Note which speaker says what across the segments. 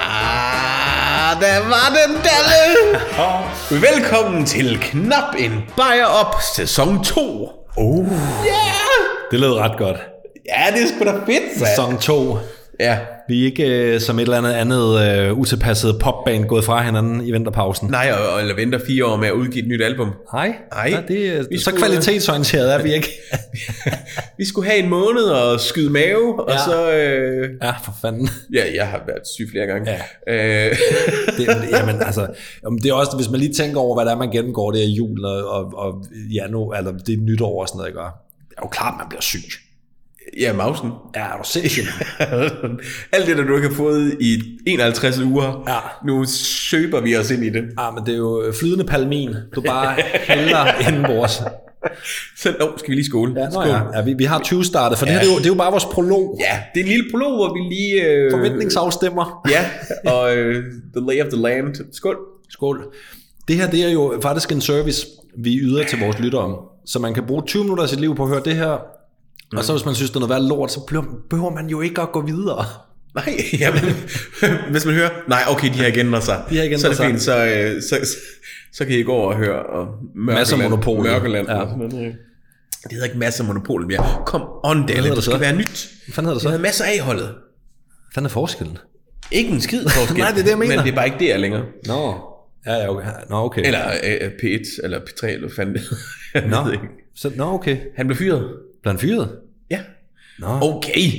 Speaker 1: Ah,
Speaker 2: der var den dalle.
Speaker 3: Og velkommen til Knap en Bajer Op, sæson 2.
Speaker 1: Oh,
Speaker 2: Ja!
Speaker 1: det lød ret godt.
Speaker 3: Ja, det er sgu da fedt, mand.
Speaker 1: Sæson 2.
Speaker 3: Ja.
Speaker 1: Vi er ikke øh, som et eller andet andet øh, utilpasset popband gået fra hinanden i vinterpausen.
Speaker 3: Nej, og, og eller venter fire år med at udgive et nyt album.
Speaker 1: Nej,
Speaker 3: Nej.
Speaker 1: Ja, det, er-
Speaker 3: Vi
Speaker 1: så
Speaker 3: skulle- øh,
Speaker 1: kvalitetsorienteret er vi ikke.
Speaker 3: Vi skulle have en måned og skyde mave, og
Speaker 1: Ja.
Speaker 3: så... Øh,
Speaker 1: ja, for fanden.
Speaker 3: ja, jeg har været syg flere gange.
Speaker 1: Ja.
Speaker 3: Øh,
Speaker 1: Det, jamen, altså, jamen, det er også, hvis man lige tænker over, hvad det er, man gennemgår, det er jul og, og, og januar, eller det er nytår og sådan noget, ikke? Og Det er jo klart, man bliver syg.
Speaker 3: ja, Mausen.
Speaker 1: Ja, er du sikker?
Speaker 3: Alt det, der du ikke har fået i 51 uger,
Speaker 1: Ja.
Speaker 3: nu søber vi os ind i det.
Speaker 1: Ja, Ah, men det er jo øh, flydende palmin. Du bare hælder indenbords.
Speaker 3: Så, nå, skal vi lige skole?
Speaker 1: Ja, nå
Speaker 3: Skål.
Speaker 1: ja. ja vi, vi har 20 startet, for det her det er, jo, det er jo bare vores prolog.
Speaker 3: ja, det er en lille prolog, hvor vi lige... Øh,
Speaker 1: Forventningsafstemmer.
Speaker 3: Ja, og øh, The Lay of the Land. Skål.
Speaker 1: Skål. Det her det er jo faktisk en service, vi yder til vores lyttere. Så man kan bruge 20 minutter af sit liv på at høre det her. Og
Speaker 3: Mm.
Speaker 1: så hvis man synes, det er noget værd lort, så behøver- behøver man jo ikke at gå videre.
Speaker 3: Nej, jamen, hvis man hører, nej, okay, de har ikke ændret sig.
Speaker 1: De har ikke
Speaker 3: så er det
Speaker 1: ændret
Speaker 3: fint, så, øh, så, så, så kan I gå over og høre og Mørkeland.
Speaker 1: Masser af monopol.
Speaker 3: Mørkeland.
Speaker 1: Ja.
Speaker 3: Ja. Det hedder ikke masser af monopol mere. Kom on, Dalle,
Speaker 1: hedder
Speaker 3: det
Speaker 1: det
Speaker 3: skal
Speaker 1: så?
Speaker 3: være nyt.
Speaker 1: Hvad fanden hedder det
Speaker 3: Det
Speaker 1: så?
Speaker 3: hedder masser af holdet.
Speaker 1: Hvad fanden er forskellen?
Speaker 3: Ikke en skid forskel.
Speaker 1: Nej, det er det, jeg mener.
Speaker 3: Men det er bare ikke der længere.
Speaker 1: Nå. Ja, ja, okay. Nå, okay.
Speaker 3: Eller øh, P1, eller P3, eller hvad fanden det hedder. Jeg ved
Speaker 1: Nå,
Speaker 3: ikke.
Speaker 1: så, nå okay.
Speaker 3: Han blev fyret.
Speaker 1: Blandt fyret?
Speaker 3: Ja.
Speaker 1: Nå.
Speaker 3: Okay.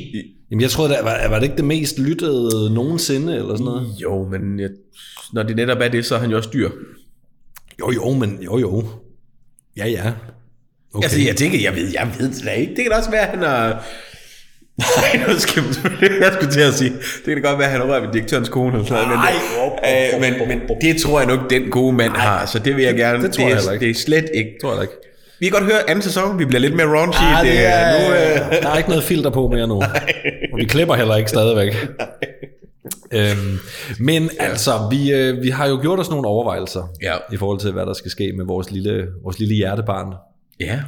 Speaker 1: Jamen, jeg troede, det var, var det ikke det mest lyttede nogensinde, eller sådan noget?
Speaker 3: Jo, men jeg, når det netop er det, så er han jo også dyr.
Speaker 1: Jo, jo, men jo, jo. Ja, ja. Okay.
Speaker 3: Okay. Altså, jeg tænker, jeg ved, jeg ved det da ikke. Det kan da også være, at han har... Nej, nu skal jeg, jeg skulle til at sige, det kan da godt være, at han har rørt ved direktørens kone. Eller sådan noget,
Speaker 1: Ej,
Speaker 3: men, øh, men, men det tror jeg nok, den gode mand har, så det vil jeg gerne.
Speaker 1: det tror jeg
Speaker 3: det,
Speaker 1: heller
Speaker 3: er,
Speaker 1: ikke.
Speaker 3: det er slet ikke.
Speaker 1: tror jeg da ikke.
Speaker 3: Vi kan godt høre anden sæson, vi bliver lidt mere raunchy.
Speaker 1: Ah, det er,
Speaker 3: nu, øh,
Speaker 1: nu, øh... Der er ikke noget filter på mere nu. Og vi klipper heller ikke stadigvæk. øhm, men altså, vi, øh, vi har jo gjort os nogle overvejelser
Speaker 3: Ja.
Speaker 1: i forhold til, hvad der skal ske med vores lille, vores lille hjertebarn.
Speaker 3: ja.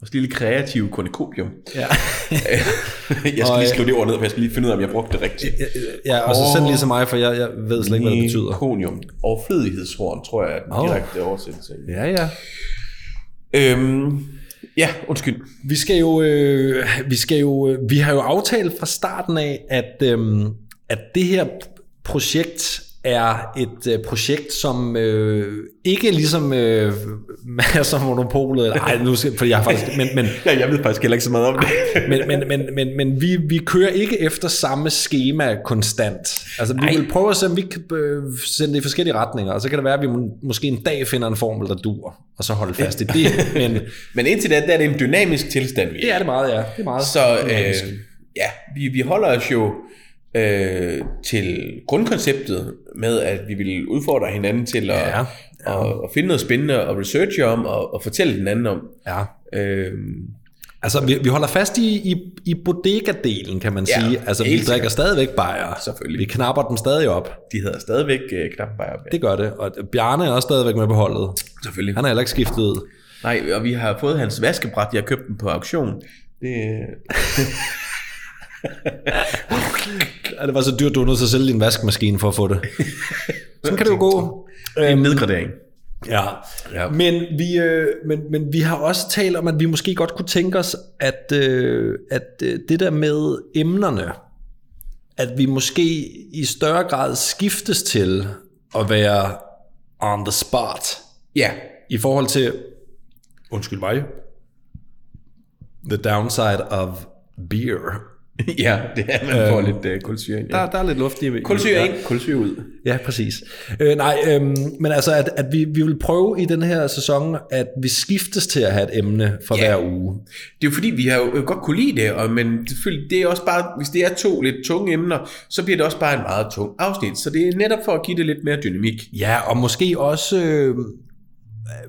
Speaker 3: Vores lille kreative konikopium.
Speaker 1: Ja.
Speaker 3: jeg skal
Speaker 1: Og, øh,
Speaker 3: lige skrive det ord ned, for jeg skal lige finde ud af, om jeg brugte det rigtigt.
Speaker 1: ja, og så
Speaker 3: Åh.
Speaker 1: send lige til mig, for jeg, jeg ved slet ikke, hvad det betyder.
Speaker 3: Konium. Overflødighedshorn, tror jeg er den
Speaker 1: Åh.
Speaker 3: direkte oversættelse.
Speaker 1: Ja, ja.
Speaker 3: Øhm, ja, undskyld.
Speaker 1: Vi skal jo, øh, vi skal jo, øh, vi har jo aftalt fra starten af, at, øh, at det her projekt er et øh, projekt, som øh, ikke ligesom øh, masser af monopolet, nej, nu skal, fordi jeg har faktisk, men, men,
Speaker 3: Ja, jeg ved faktisk heller ikke så meget om det.
Speaker 1: men, men, men, men, men vi, vi kører ikke efter samme schema konstant. Altså, vi vil prøve at se, om vi kan øh, sende det i forskellige retninger, og så kan det være, at vi må, måske en dag finder en formel, der dur, og så holde fast i det. Men
Speaker 3: Men indtil da, der er det en dynamisk tilstand, vi er i.
Speaker 1: det er det meget, ja. Det er meget
Speaker 3: Så
Speaker 1: dynamisk.
Speaker 3: øh, ja, vi, vi holder os jo øh, til grundkonceptet med, at vi vil udfordre hinanden til at,
Speaker 1: Ja,
Speaker 3: ja, ja. at, at finde noget spændende og researche om og, og fortælle den anden om.
Speaker 1: ja.
Speaker 3: Øh,
Speaker 1: Altså, vi, vi holder fast i, i, i bodega-delen, kan man
Speaker 3: Ja,
Speaker 1: sige. Altså, vi
Speaker 3: helt
Speaker 1: drikker stadigvæk bajer.
Speaker 3: Selvfølgelig.
Speaker 1: Vi knapper den stadig op.
Speaker 3: de hedder stadigvæk øh, Knappenbejer.
Speaker 1: Det gør det. Og Bjarne er også stadigvæk med på holdet.
Speaker 3: Selvfølgelig.
Speaker 1: Han har heller ikke skiftet. ud.
Speaker 3: Nej, og vi har fået hans vaskebræt, jeg har købt den på auktion. Det, øh,
Speaker 1: Ja, det var så dyrt, du er nødt til at sælge din vaskemaskine for at få det. Sådan kan det jo gå.
Speaker 3: det er en nedgradering.
Speaker 1: Ja.
Speaker 3: Ja.
Speaker 1: Men, vi, øh, men, men vi har også talt om, at vi måske godt kunne tænke os, at, øh, at øh, det der med emnerne, at vi måske i større grad skiftes til at være on the spot.
Speaker 3: Ja,
Speaker 1: i forhold til, undskyld mig, the downside of beer.
Speaker 3: ja det er, man får lidt øh, kulsyre ind. Ja.
Speaker 1: der er lidt luft i.
Speaker 3: Kulsyre ind, kulsyre ud.
Speaker 1: Ja, præcis. Øh, nej, øhm, men altså, at, at vi, vi vil prøve i den her sæson, at vi skiftes til at have et emne for
Speaker 3: Ja.
Speaker 1: hver uge.
Speaker 3: Det er jo fordi, vi har jo øh, godt kunne lide det, og, men selvfølgelig, det er også bare, hvis det er to lidt tunge emner, så bliver det også bare en meget tung afsnit. Så det er netop for at give det lidt mere dynamik.
Speaker 1: Ja, og måske også øh,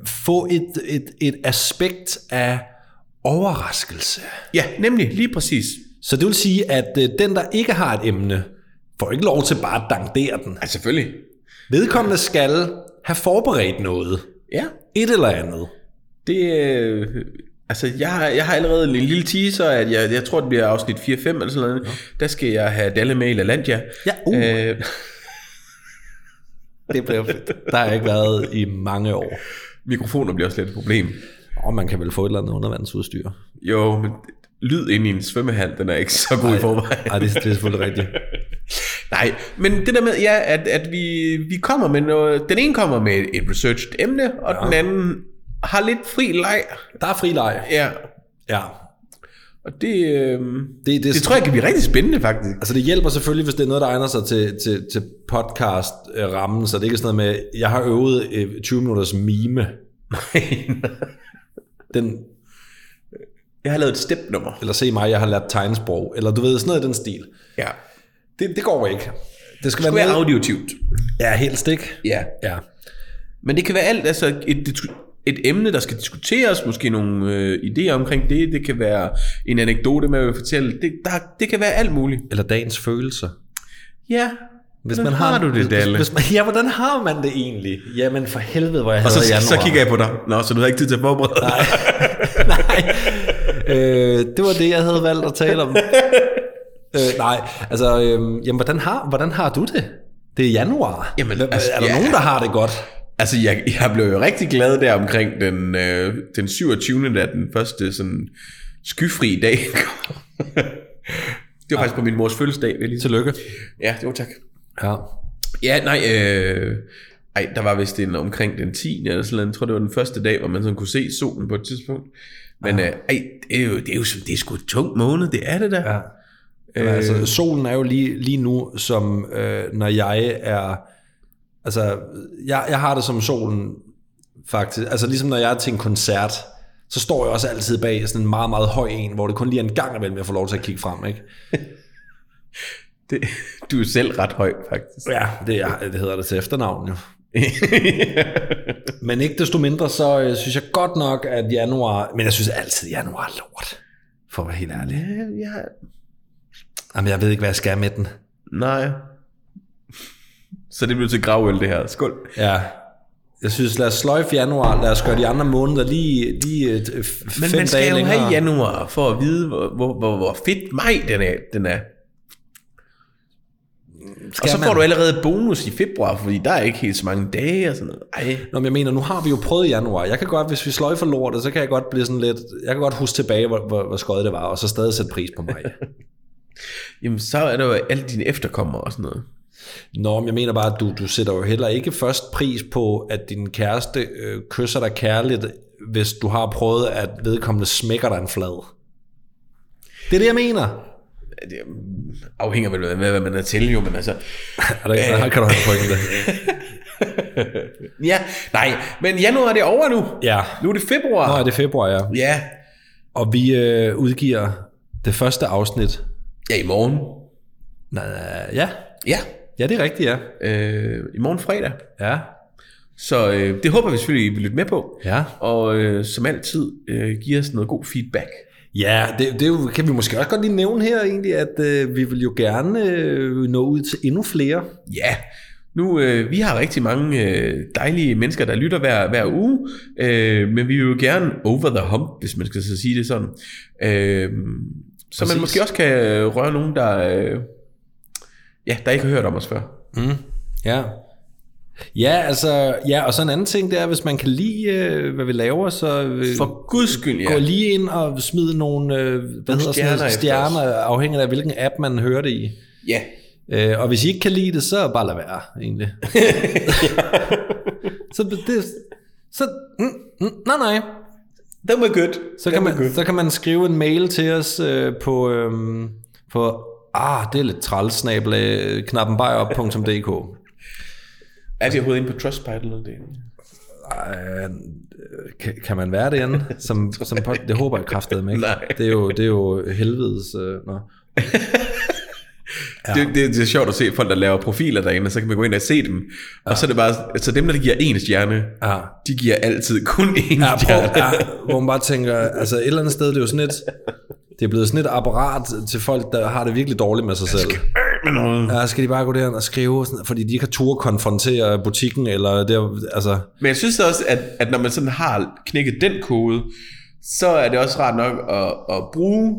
Speaker 1: få et, et, et aspekt af overraskelse.
Speaker 3: Ja, nemlig, lige præcis.
Speaker 1: Så det vil sige, at øh, den, der ikke har et emne, får ikke lov til bare at dankdere den.
Speaker 3: Ja, selvfølgelig.
Speaker 1: Vedkommende skal have forberedt noget.
Speaker 3: Ja,
Speaker 1: Et eller andet.
Speaker 3: det øh, Altså, jeg har, jeg har allerede en lille teaser, at jeg, jeg tror, det bliver afsnit 4-5 eller sådan
Speaker 1: uh.
Speaker 3: Uh. noget. Der skal jeg have Dalle med i LaLandia.
Speaker 1: Ja, uh.
Speaker 3: Øh,
Speaker 1: Øh, Det bliver fedt. Der har jeg ikke været i mange år.
Speaker 3: Mikrofoner bliver også lidt et problem.
Speaker 1: Og man kan vel få et eller andet undervandsudstyr.
Speaker 3: Jo, men lyd ind i en svømmehal, den er ikke så god i forvejen.
Speaker 1: Ej, det, det er selvfølgelig rigtigt.
Speaker 3: Nej, men det der med, ja, at, at vi, vi kommer med noget, den ene kommer med et researched emne, og ja. den anden har lidt fri leg.
Speaker 1: Der er fri leg.
Speaker 3: Ja,
Speaker 1: Ja.
Speaker 3: og det, øh,
Speaker 1: Det, det,
Speaker 3: det tror jeg kan blive rigtig spændende faktisk.
Speaker 1: Altså det hjælper selvfølgelig, hvis det er noget, der egner sig til, til, til podcast-rammen, så det ikke er sådan noget med, jeg har øvet øh, 20 minutters mime. Den,
Speaker 3: jeg har lavet et stepnummer.
Speaker 1: eller se mig, jeg har lært tegnsprog, eller du ved, sådan noget i den stil.
Speaker 3: Ja.
Speaker 1: Det, det går ikke. Det skal,
Speaker 3: Det skal
Speaker 1: være
Speaker 3: være
Speaker 1: noget,
Speaker 3: audiotivt.
Speaker 1: Ja, helst ikke.
Speaker 3: Ja.
Speaker 1: Ja.
Speaker 3: Men det kan være alt, altså et, disku- et emne, der skal diskuteres, måske nogle øh, idéer omkring det, det kan være en anekdote, man vil fortælle, det, der, det kan være alt muligt.
Speaker 1: Eller dagens følelser.
Speaker 3: Ja,
Speaker 1: Hvis
Speaker 3: Hvordan
Speaker 1: man har,
Speaker 3: har du det,
Speaker 1: hvis,
Speaker 3: Dalle?
Speaker 1: Hvis, hvis man, ja, hvordan har man det egentlig? Jamen for helvede, hvor jeg
Speaker 3: og så,
Speaker 1: hader januar.
Speaker 3: så kigger jeg på dig. Nå, så du har ikke tid til at forberede dig.
Speaker 1: nej. Øh, det var det, jeg havde valgt at tale om. øh, nej, altså, øh, jamen, hvordan, har, hvordan har du det? Det er januar.
Speaker 3: Jamen,
Speaker 1: Hvem-
Speaker 3: altså,
Speaker 1: er der
Speaker 3: ja.
Speaker 1: nogen, der har det godt?
Speaker 3: Altså, jeg, jeg blev jo rigtig glad der omkring den, øh, den 27. da den første sådan skyfri dag kom. Det var faktisk på min mors fødselsdag, vil jeg lige
Speaker 1: Tillykke.
Speaker 3: Ja, det var tak.
Speaker 1: Ja.
Speaker 3: Ja, nej, øh, ej, der var vist en omkring den 10. eller sådan noget. Jeg tror, det var den første dag, hvor man sådan kunne se solen på et tidspunkt. Men øh, ej, det er jo, det er jo som- det er sgu et tungt måned, det er det der.
Speaker 1: ja. Øh.
Speaker 3: Øh.
Speaker 1: Altså, solen er jo lige, lige nu, som øh, når jeg er... Altså, jeg, jeg har det som solen, faktisk. Altså, ligesom når jeg er til en koncert, så står jeg også altid bag sådan en meget, meget høj en, hvor det kun lige er en gang imellem, jeg får lov til at kigge frem, ikke?
Speaker 3: Det, du er selv ret høj, faktisk.
Speaker 1: Ja, det, er, det hedder det til efternavn jo. Men ikke desto mindre, så øh, synes jeg godt nok, at januar... Men jeg synes altid, at januar er lort. For at være helt ærlig.
Speaker 3: Øh, jeg,
Speaker 1: Jamen, jeg ved ikke, hvad jeg skal med den.
Speaker 3: nej. Så det blev til gravøl, det her. Skål.
Speaker 1: Ja. Jeg synes, lad os sløjfe januar. Lad os gøre de andre måneder lige, lige øh, f- fem
Speaker 3: Men man skal
Speaker 1: dage
Speaker 3: jo
Speaker 1: længere.
Speaker 3: have januar for at vide, hvor, hvor, hvor, hvor fedt maj den er. Den er.
Speaker 1: Skal
Speaker 3: Og så
Speaker 1: man?
Speaker 3: får du allerede bonus i februar, fordi der er ikke helt så mange dage og sådan noget. Ej.
Speaker 1: Nå, men jeg mener, nu har vi jo prøvet januar. Jeg kan godt, hvis vi sløjfer lortet, så kan jeg godt blive sådan lidt... Jeg kan godt huske tilbage, hvor, hvor, hvor skøjet det var, og så stadig sætte pris på mig.
Speaker 3: Jamen, så er der jo alle dine efterkommere og sådan noget.
Speaker 1: Nå, men jeg mener bare, at du, du sætter jo heller ikke først pris på, at din kæreste øh, kysser dig kærligt, hvis du har prøvet, at vedkommende smækker dig en flad. Det er det, jeg mener.
Speaker 3: Det afhænger vel af, hvad man er til, jo, men altså...
Speaker 1: Er der, øh. Kan du have en det?
Speaker 3: Ja, nej, men januar er det over nu.
Speaker 1: Ja.
Speaker 3: Nu er det februar.
Speaker 1: Nå, er det februar, ja.
Speaker 3: Ja.
Speaker 1: Og vi øh, udgiver det første afsnit.
Speaker 3: Ja, i morgen.
Speaker 1: Nej, ja.
Speaker 3: Ja.
Speaker 1: ja, det er rigtigt, ja.
Speaker 3: Øh, I morgen fredag.
Speaker 1: Ja.
Speaker 3: Så øh, det håber vi selvfølgelig, I vil lytte med på.
Speaker 1: Ja,
Speaker 3: Og øh, som altid, øh, giver os noget god feedback.
Speaker 1: ja det, det er jo- kan vi måske også godt lige nævne her egentlig, at øh, vi vil jo gerne øh, nå ud til endnu flere.
Speaker 3: Ja, nu øh, vi har rigtig mange øh, dejlige mennesker, der lytter hver, hver uge, øh, men vi vil jo gerne over the hump, hvis man skal så sige det sådan. Øh, så
Speaker 1: Præcis.
Speaker 3: man måske også kan øh, røre nogen, der, øh, ja, der ikke har hørt om os før.
Speaker 1: Mm. Ja. Ja, altså, ja, og så en anden ting, det er, hvis man kan lide, øh, hvad vi laver, så øh,
Speaker 3: For guds skyld, ja.
Speaker 1: gå lige ind og smid nogle, øh, hvad
Speaker 3: stjerner
Speaker 1: hedder sådan
Speaker 3: efter
Speaker 1: noget,
Speaker 3: os.
Speaker 1: stjerner, afhængigt af hvilken app man hører det i.
Speaker 3: ja.
Speaker 1: Øh, og hvis I ikke kan lide det, så bare lad være, egentlig. så det, så, mm, mm, nej, nej.
Speaker 3: Den var good.
Speaker 1: Så kan, man, så kan man skrive en mail til os øh, på, øh, på, ah, det er lidt øh, trælsnabel, knappenbajerop.dk.
Speaker 3: Er de overhovedet inde på Trustpilot eller det?
Speaker 1: Øh, kan, kan man være det inde? Som, som pod, det håber jeg kraftedeme ikke.
Speaker 3: Nej.
Speaker 1: Det er jo, det er jo helvedes... Øh, nå.
Speaker 3: Ja. Det, det, det er sjovt at se folk, der laver profiler derinde, og så kan man gå ind og se dem. Ja. Og så er det bare, altså dem, der giver en stjerne,
Speaker 1: Ja.
Speaker 3: de giver altid kun en
Speaker 1: Ja, prøv,
Speaker 3: stjerne.
Speaker 1: ja, hvor man bare tænker, altså et eller andet sted, det er jo sådan et, det er blevet sådan et apparat til folk, der har det virkelig dårligt med sig selv.
Speaker 3: Øh, med noget.
Speaker 1: Ja, skal de bare gå derhen og skrive, sådan, fordi de ikke har tur konfrontere butikken, eller der, altså...
Speaker 3: Men jeg synes også, at, at når man sådan har knækket den kode, så er det også rart nok at, at bruge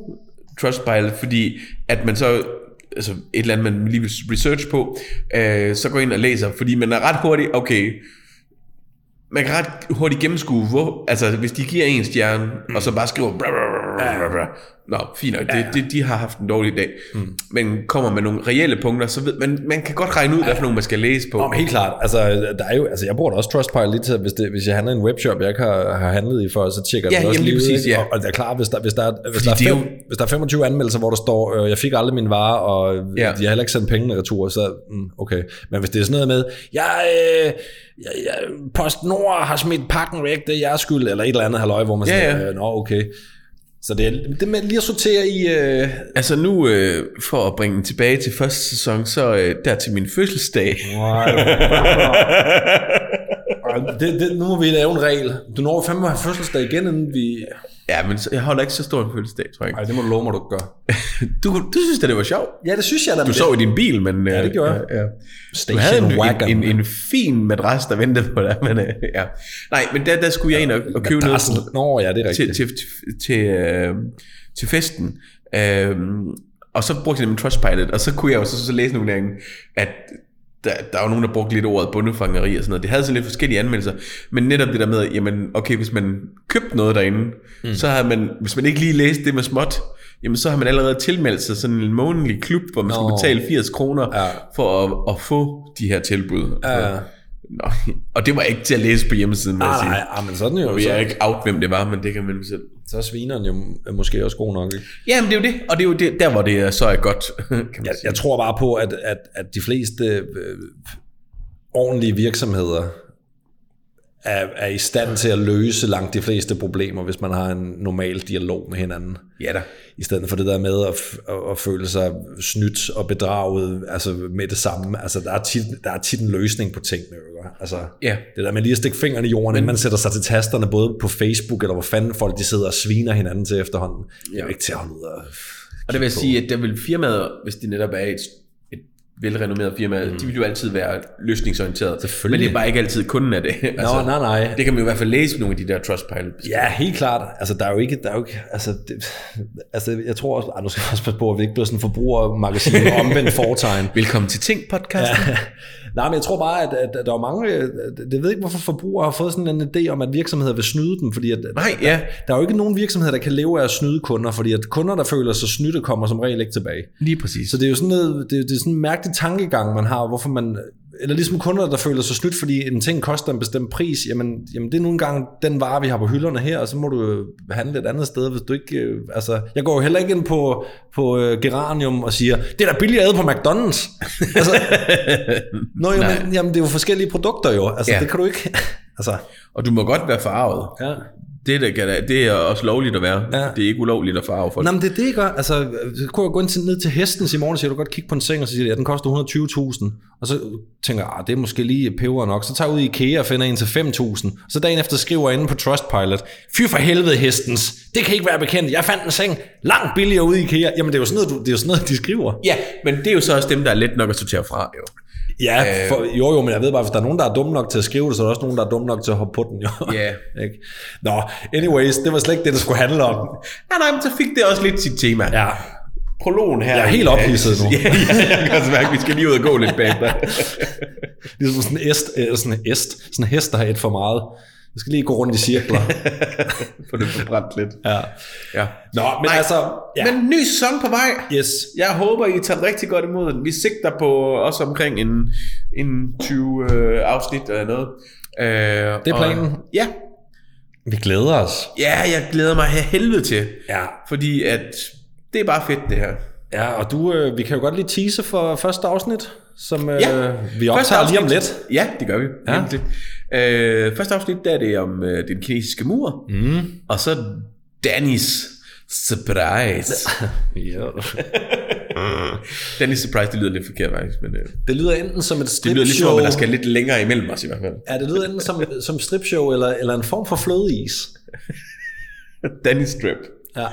Speaker 3: Trustpilot, fordi at man så altså et eller andet, man lige vil research på, øh, så går ind og læser, fordi man er ret hurtig, okay, man kan ret hurtigt gennemskue, hvor, altså hvis de giver en stjerne, mm. og så bare skriver, bla, bla, bla, bla, bla, bla. nå, fint nok, det, det, de har haft en dårlig dag, mm. men kommer med nogle reelle punkter, så ved man, man kan godt regne ud, hvad for nogle man skal læse på.
Speaker 1: Nå, men helt klart. Altså, der er jo, altså, jeg bruger da også Trustpilot lige til, hvis, det, hvis jeg handler i en webshop, jeg ikke har, har handlet i før, så tjekker
Speaker 3: Ja,
Speaker 1: jeg det også
Speaker 3: jamen, lige
Speaker 1: ud,
Speaker 3: præcis,
Speaker 1: ikke?
Speaker 3: ja.
Speaker 1: Og, og, det er klart, hvis der, hvis der, er- hvis der, er
Speaker 3: det er
Speaker 1: fem,
Speaker 3: jo-
Speaker 1: hvis der er 25 anmeldelser, hvor der står, øh, jeg fik aldrig min vare, og øh,
Speaker 3: Ja.
Speaker 1: de har heller ikke sendt pengene retur, så mm, okay. Men hvis det er sådan noget med, jeg, øh, jeg, jeg PostNord har smidt pakken væk, det er jeres skyld, eller et eller andet halløj, hvor man
Speaker 3: Ja,
Speaker 1: ja,
Speaker 3: ja.
Speaker 1: siger, øh, nå okay. Så det er det med lige at sortere i... Øh,
Speaker 3: Altså nu, øh, for at bringe den tilbage til første sæson, så øh, der til min fødselsdag,
Speaker 1: Ej, det, det, nu må vi lave en regel. Du når fandme at have fødselsdag igen, inden vi...
Speaker 3: ja, men så, jeg holder ikke så stor en fødselsdag, tror jeg ikke.
Speaker 1: Nej, det må du love mig, du gør.
Speaker 3: Du, du synes da, det var sjovt.
Speaker 1: Ja, det synes jeg da.
Speaker 3: Du sov i din bil, men... Ja,
Speaker 1: det gjorde jeg.
Speaker 3: Ja, ja. Du
Speaker 1: Station
Speaker 3: havde en,
Speaker 1: wagon.
Speaker 3: en, en, en fin madras, der ventede på dig, men øh, ja. Nej, men der, der skulle jeg ind og, og købe noget
Speaker 1: Madras. Nå, ja, det er
Speaker 3: til,
Speaker 1: rigtigt.
Speaker 3: til, til, til, øh, til festen. Øh, og så brugte jeg nemlig Trustpilot, og så kunne jeg jo så, så læse nogle af dem, at der, der var nogen, der brugte lidt ordet bundefangeri og sådan noget. Det havde så lidt forskellige anmeldelser. Men netop det der med, jamen okay, hvis man købte noget derinde, mm. så havde man, hvis man ikke lige læste det med småt, jamen så har man allerede tilmeldt sig sådan en månedlig klub, hvor man
Speaker 1: Nå.
Speaker 3: skal betale 80 kroner
Speaker 1: Ja.
Speaker 3: ja. for at, at få de her tilbud.
Speaker 1: Ja.
Speaker 3: Nå, og det var ikke til at læse på hjemmesiden, må jeg
Speaker 1: Nej,
Speaker 3: sige.
Speaker 1: nej, ah, men sådan er det jo.
Speaker 3: Og jeg er
Speaker 1: Så,
Speaker 3: ikke out, hvem det var, men det kan man selv.
Speaker 1: så er svineren jo m- måske også god nok, ikke?
Speaker 3: Ja, men det er jo det, og det er jo det, der, hvor det er, så er godt, kan man
Speaker 1: Jeg,
Speaker 3: sige.
Speaker 1: jeg tror bare på, at, at, at de fleste øh, ordentlige virksomheder er, er i stand til at løse langt de fleste problemer, hvis man har en normal dialog med hinanden.
Speaker 3: Ja da.
Speaker 1: i stedet for det der med at, f- at, at føle sig snydt og bedraget altså med det samme. Altså, der, er tit, der er tit en løsning på tingene. Ikke? Altså,
Speaker 3: Ja.
Speaker 1: Det der med lige at stikke fingrene i jorden, Men, inden man sætter sig til tasterne, både på Facebook eller hvor fanden folk de sidder og sviner hinanden til efterhånden. Ja. Det er jo ikke til at holde ud af.
Speaker 3: Og det vil jeg sige, at der vil firmaet, hvis det netop er et, et velrenommeret firma, mm. de vil jo altid være løsningsorienteret.
Speaker 1: Selvfølgelig.
Speaker 3: Men det er bare ikke altid kunden af det. Altså,
Speaker 1: Nå, nej, nej.
Speaker 3: Det kan man jo i hvert fald læse på nogle af de der Trustpilot.
Speaker 1: Ja, helt klart. Altså, der er jo ikke... Der er jo ikke altså, det, altså, jeg tror også... Ej, nu skal jeg også passe på, at vi ikke bliver sådan en forbrugermagasin med omvendt foretegn.
Speaker 3: Velkommen til Ting podcast. Ja.
Speaker 1: Nej, men jeg tror bare, at, at, at der er mange... øh, Det jeg ved ikke, hvorfor forbrugere har fået sådan en idé om, at virksomheder vil snyde dem, fordi at,
Speaker 3: Nej, ja.
Speaker 1: der er jo ikke nogen virksomheder, der kan leve af at snyde kunder, fordi at kunder, der føler sig snydt, kommer som regel ikke tilbage.
Speaker 3: Lige præcis.
Speaker 1: Så det er jo sådan, noget, det, det er sådan en mærkelig tankegang, man har, hvorfor man... Eller ligesom kunder, der føler sig snydt, fordi en ting koster en bestemt pris, jamen, jamen det er nu engang den vare, vi har på hylderne her, og så må du øh, handle et andet sted, hvis du ikke... øh, Altså, jeg går jo heller ikke ind på, på uh, Geranium og siger, det er da billigere ad på McDonald's. altså, nå, jamen, jamen, det er jo forskellige produkter jo. Altså, ja.
Speaker 3: Ja.
Speaker 1: det kan du ikke... altså,
Speaker 3: Og du må godt være farvet.
Speaker 1: ja.
Speaker 3: Det, der kan, da- det er også lovligt at være.
Speaker 1: Ja.
Speaker 3: Det er ikke ulovligt at farve folk.
Speaker 1: Nå, men det er det, jeg gør. Altså, så kunne jeg gå ind til, ned til hestens i morgen, og siger, du kan godt kigge på en seng, og så siger, de, ja, den koster 120.000. Og så tænker jeg, ah, det er måske lige peber nok. Så tager jeg ud i IKEA og finder en til 5.000. Så dagen efter skriver jeg inde på Trustpilot, fy for helvede hestens, det kan ikke være bekendt. Jeg fandt en seng langt billigere ude i IKEA. Jamen, det er jo sådan noget, du, det er jo sådan noget de skriver.
Speaker 3: Ja, men det er jo så også dem, der er let nok at sortere fra, jo. Øh.
Speaker 1: Ja, for, jo jo, men jeg ved bare, hvis der er nogen, der er dumme nok til at skrive det, så er der også nogen, der er dumme nok til at hoppe på den. Jo.
Speaker 3: Ja.
Speaker 1: Ikke? Nå, anyways, det var slet ikke det, det skulle handle om.
Speaker 3: Ja, nej, men så fik det også lidt sit tema.
Speaker 1: Ja,
Speaker 3: prologen her.
Speaker 1: Jeg er helt ophidset nu.
Speaker 3: ja, ja, jeg kan også mærke, at vi skal lige ud og gå lidt bagefter.
Speaker 1: Ligesom sådan en est, øh, sådan en est, sådan en hest, der har et for meget. Jeg skal lige gå rundt i cirkler.
Speaker 3: For det forbrændt lidt.
Speaker 1: ja.
Speaker 3: Ja.
Speaker 1: Nå, men Nej. altså, ja. Men,
Speaker 3: Men ny sæson på vej.
Speaker 1: yes.
Speaker 3: Jeg håber, I tager rigtig godt imod den. Vi sigter på også omkring en, en 20 øh, afsnit eller noget. Øh, det
Speaker 1: er planen.
Speaker 3: Og, ja.
Speaker 1: Vi glæder os.
Speaker 3: ja, jeg glæder mig her helvede til.
Speaker 1: Ja.
Speaker 3: Fordi at det er bare fedt, det her.
Speaker 1: Ja, og du, øh, vi kan jo godt lige tease for første afsnit, som øh,
Speaker 3: Ja.
Speaker 1: vi
Speaker 3: Første
Speaker 1: optager lige om
Speaker 3: afsnit-
Speaker 1: lidt.
Speaker 3: Ja, det gør vi.
Speaker 1: Ja.
Speaker 3: Nemlig. Øh, første afsnit, der er det om øh, den kinesiske mur. Mm. Og så Dannys surprise.
Speaker 1: Ja.
Speaker 3: Dannys surprise, det lyder lidt forkert faktisk, men øh, det
Speaker 1: Det lyder enten som et
Speaker 3: lyder lidt som om,
Speaker 1: stripshow,
Speaker 3: at der skal lidt længere imellem os i hvert fald.
Speaker 1: ja, det lyder enten som, som stripshow eller, eller en form for flødeis.
Speaker 3: Dannys strip.
Speaker 1: Ja.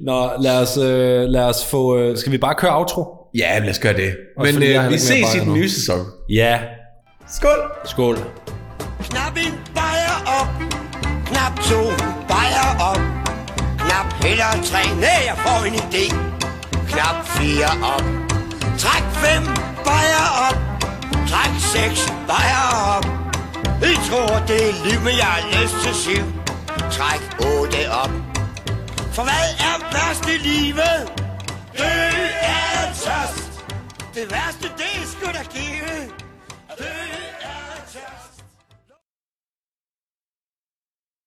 Speaker 1: Nå, lad os, øh, lad os få... Øh, skal vi bare køre outro?
Speaker 3: Ja, lad os gøre det.
Speaker 1: Også
Speaker 3: Men
Speaker 1: fordi jeg har
Speaker 3: øh, vi
Speaker 1: ikke mere
Speaker 3: ses i
Speaker 1: bajer
Speaker 3: den
Speaker 1: nu.
Speaker 3: nye sæson.
Speaker 1: Ja.
Speaker 3: Skål!
Speaker 1: Skål.
Speaker 2: Knap en bajer op. Knap to bajer op.
Speaker 4: Knap piller tre ned, jeg får en idé Knap fire op Træk fem bajer op Træk seks bajer op I tror det er liv, men jeg har lyst til syv Træk otte op For hvad er værst i livet? Det er tørst Det værste, det er sgu da give Det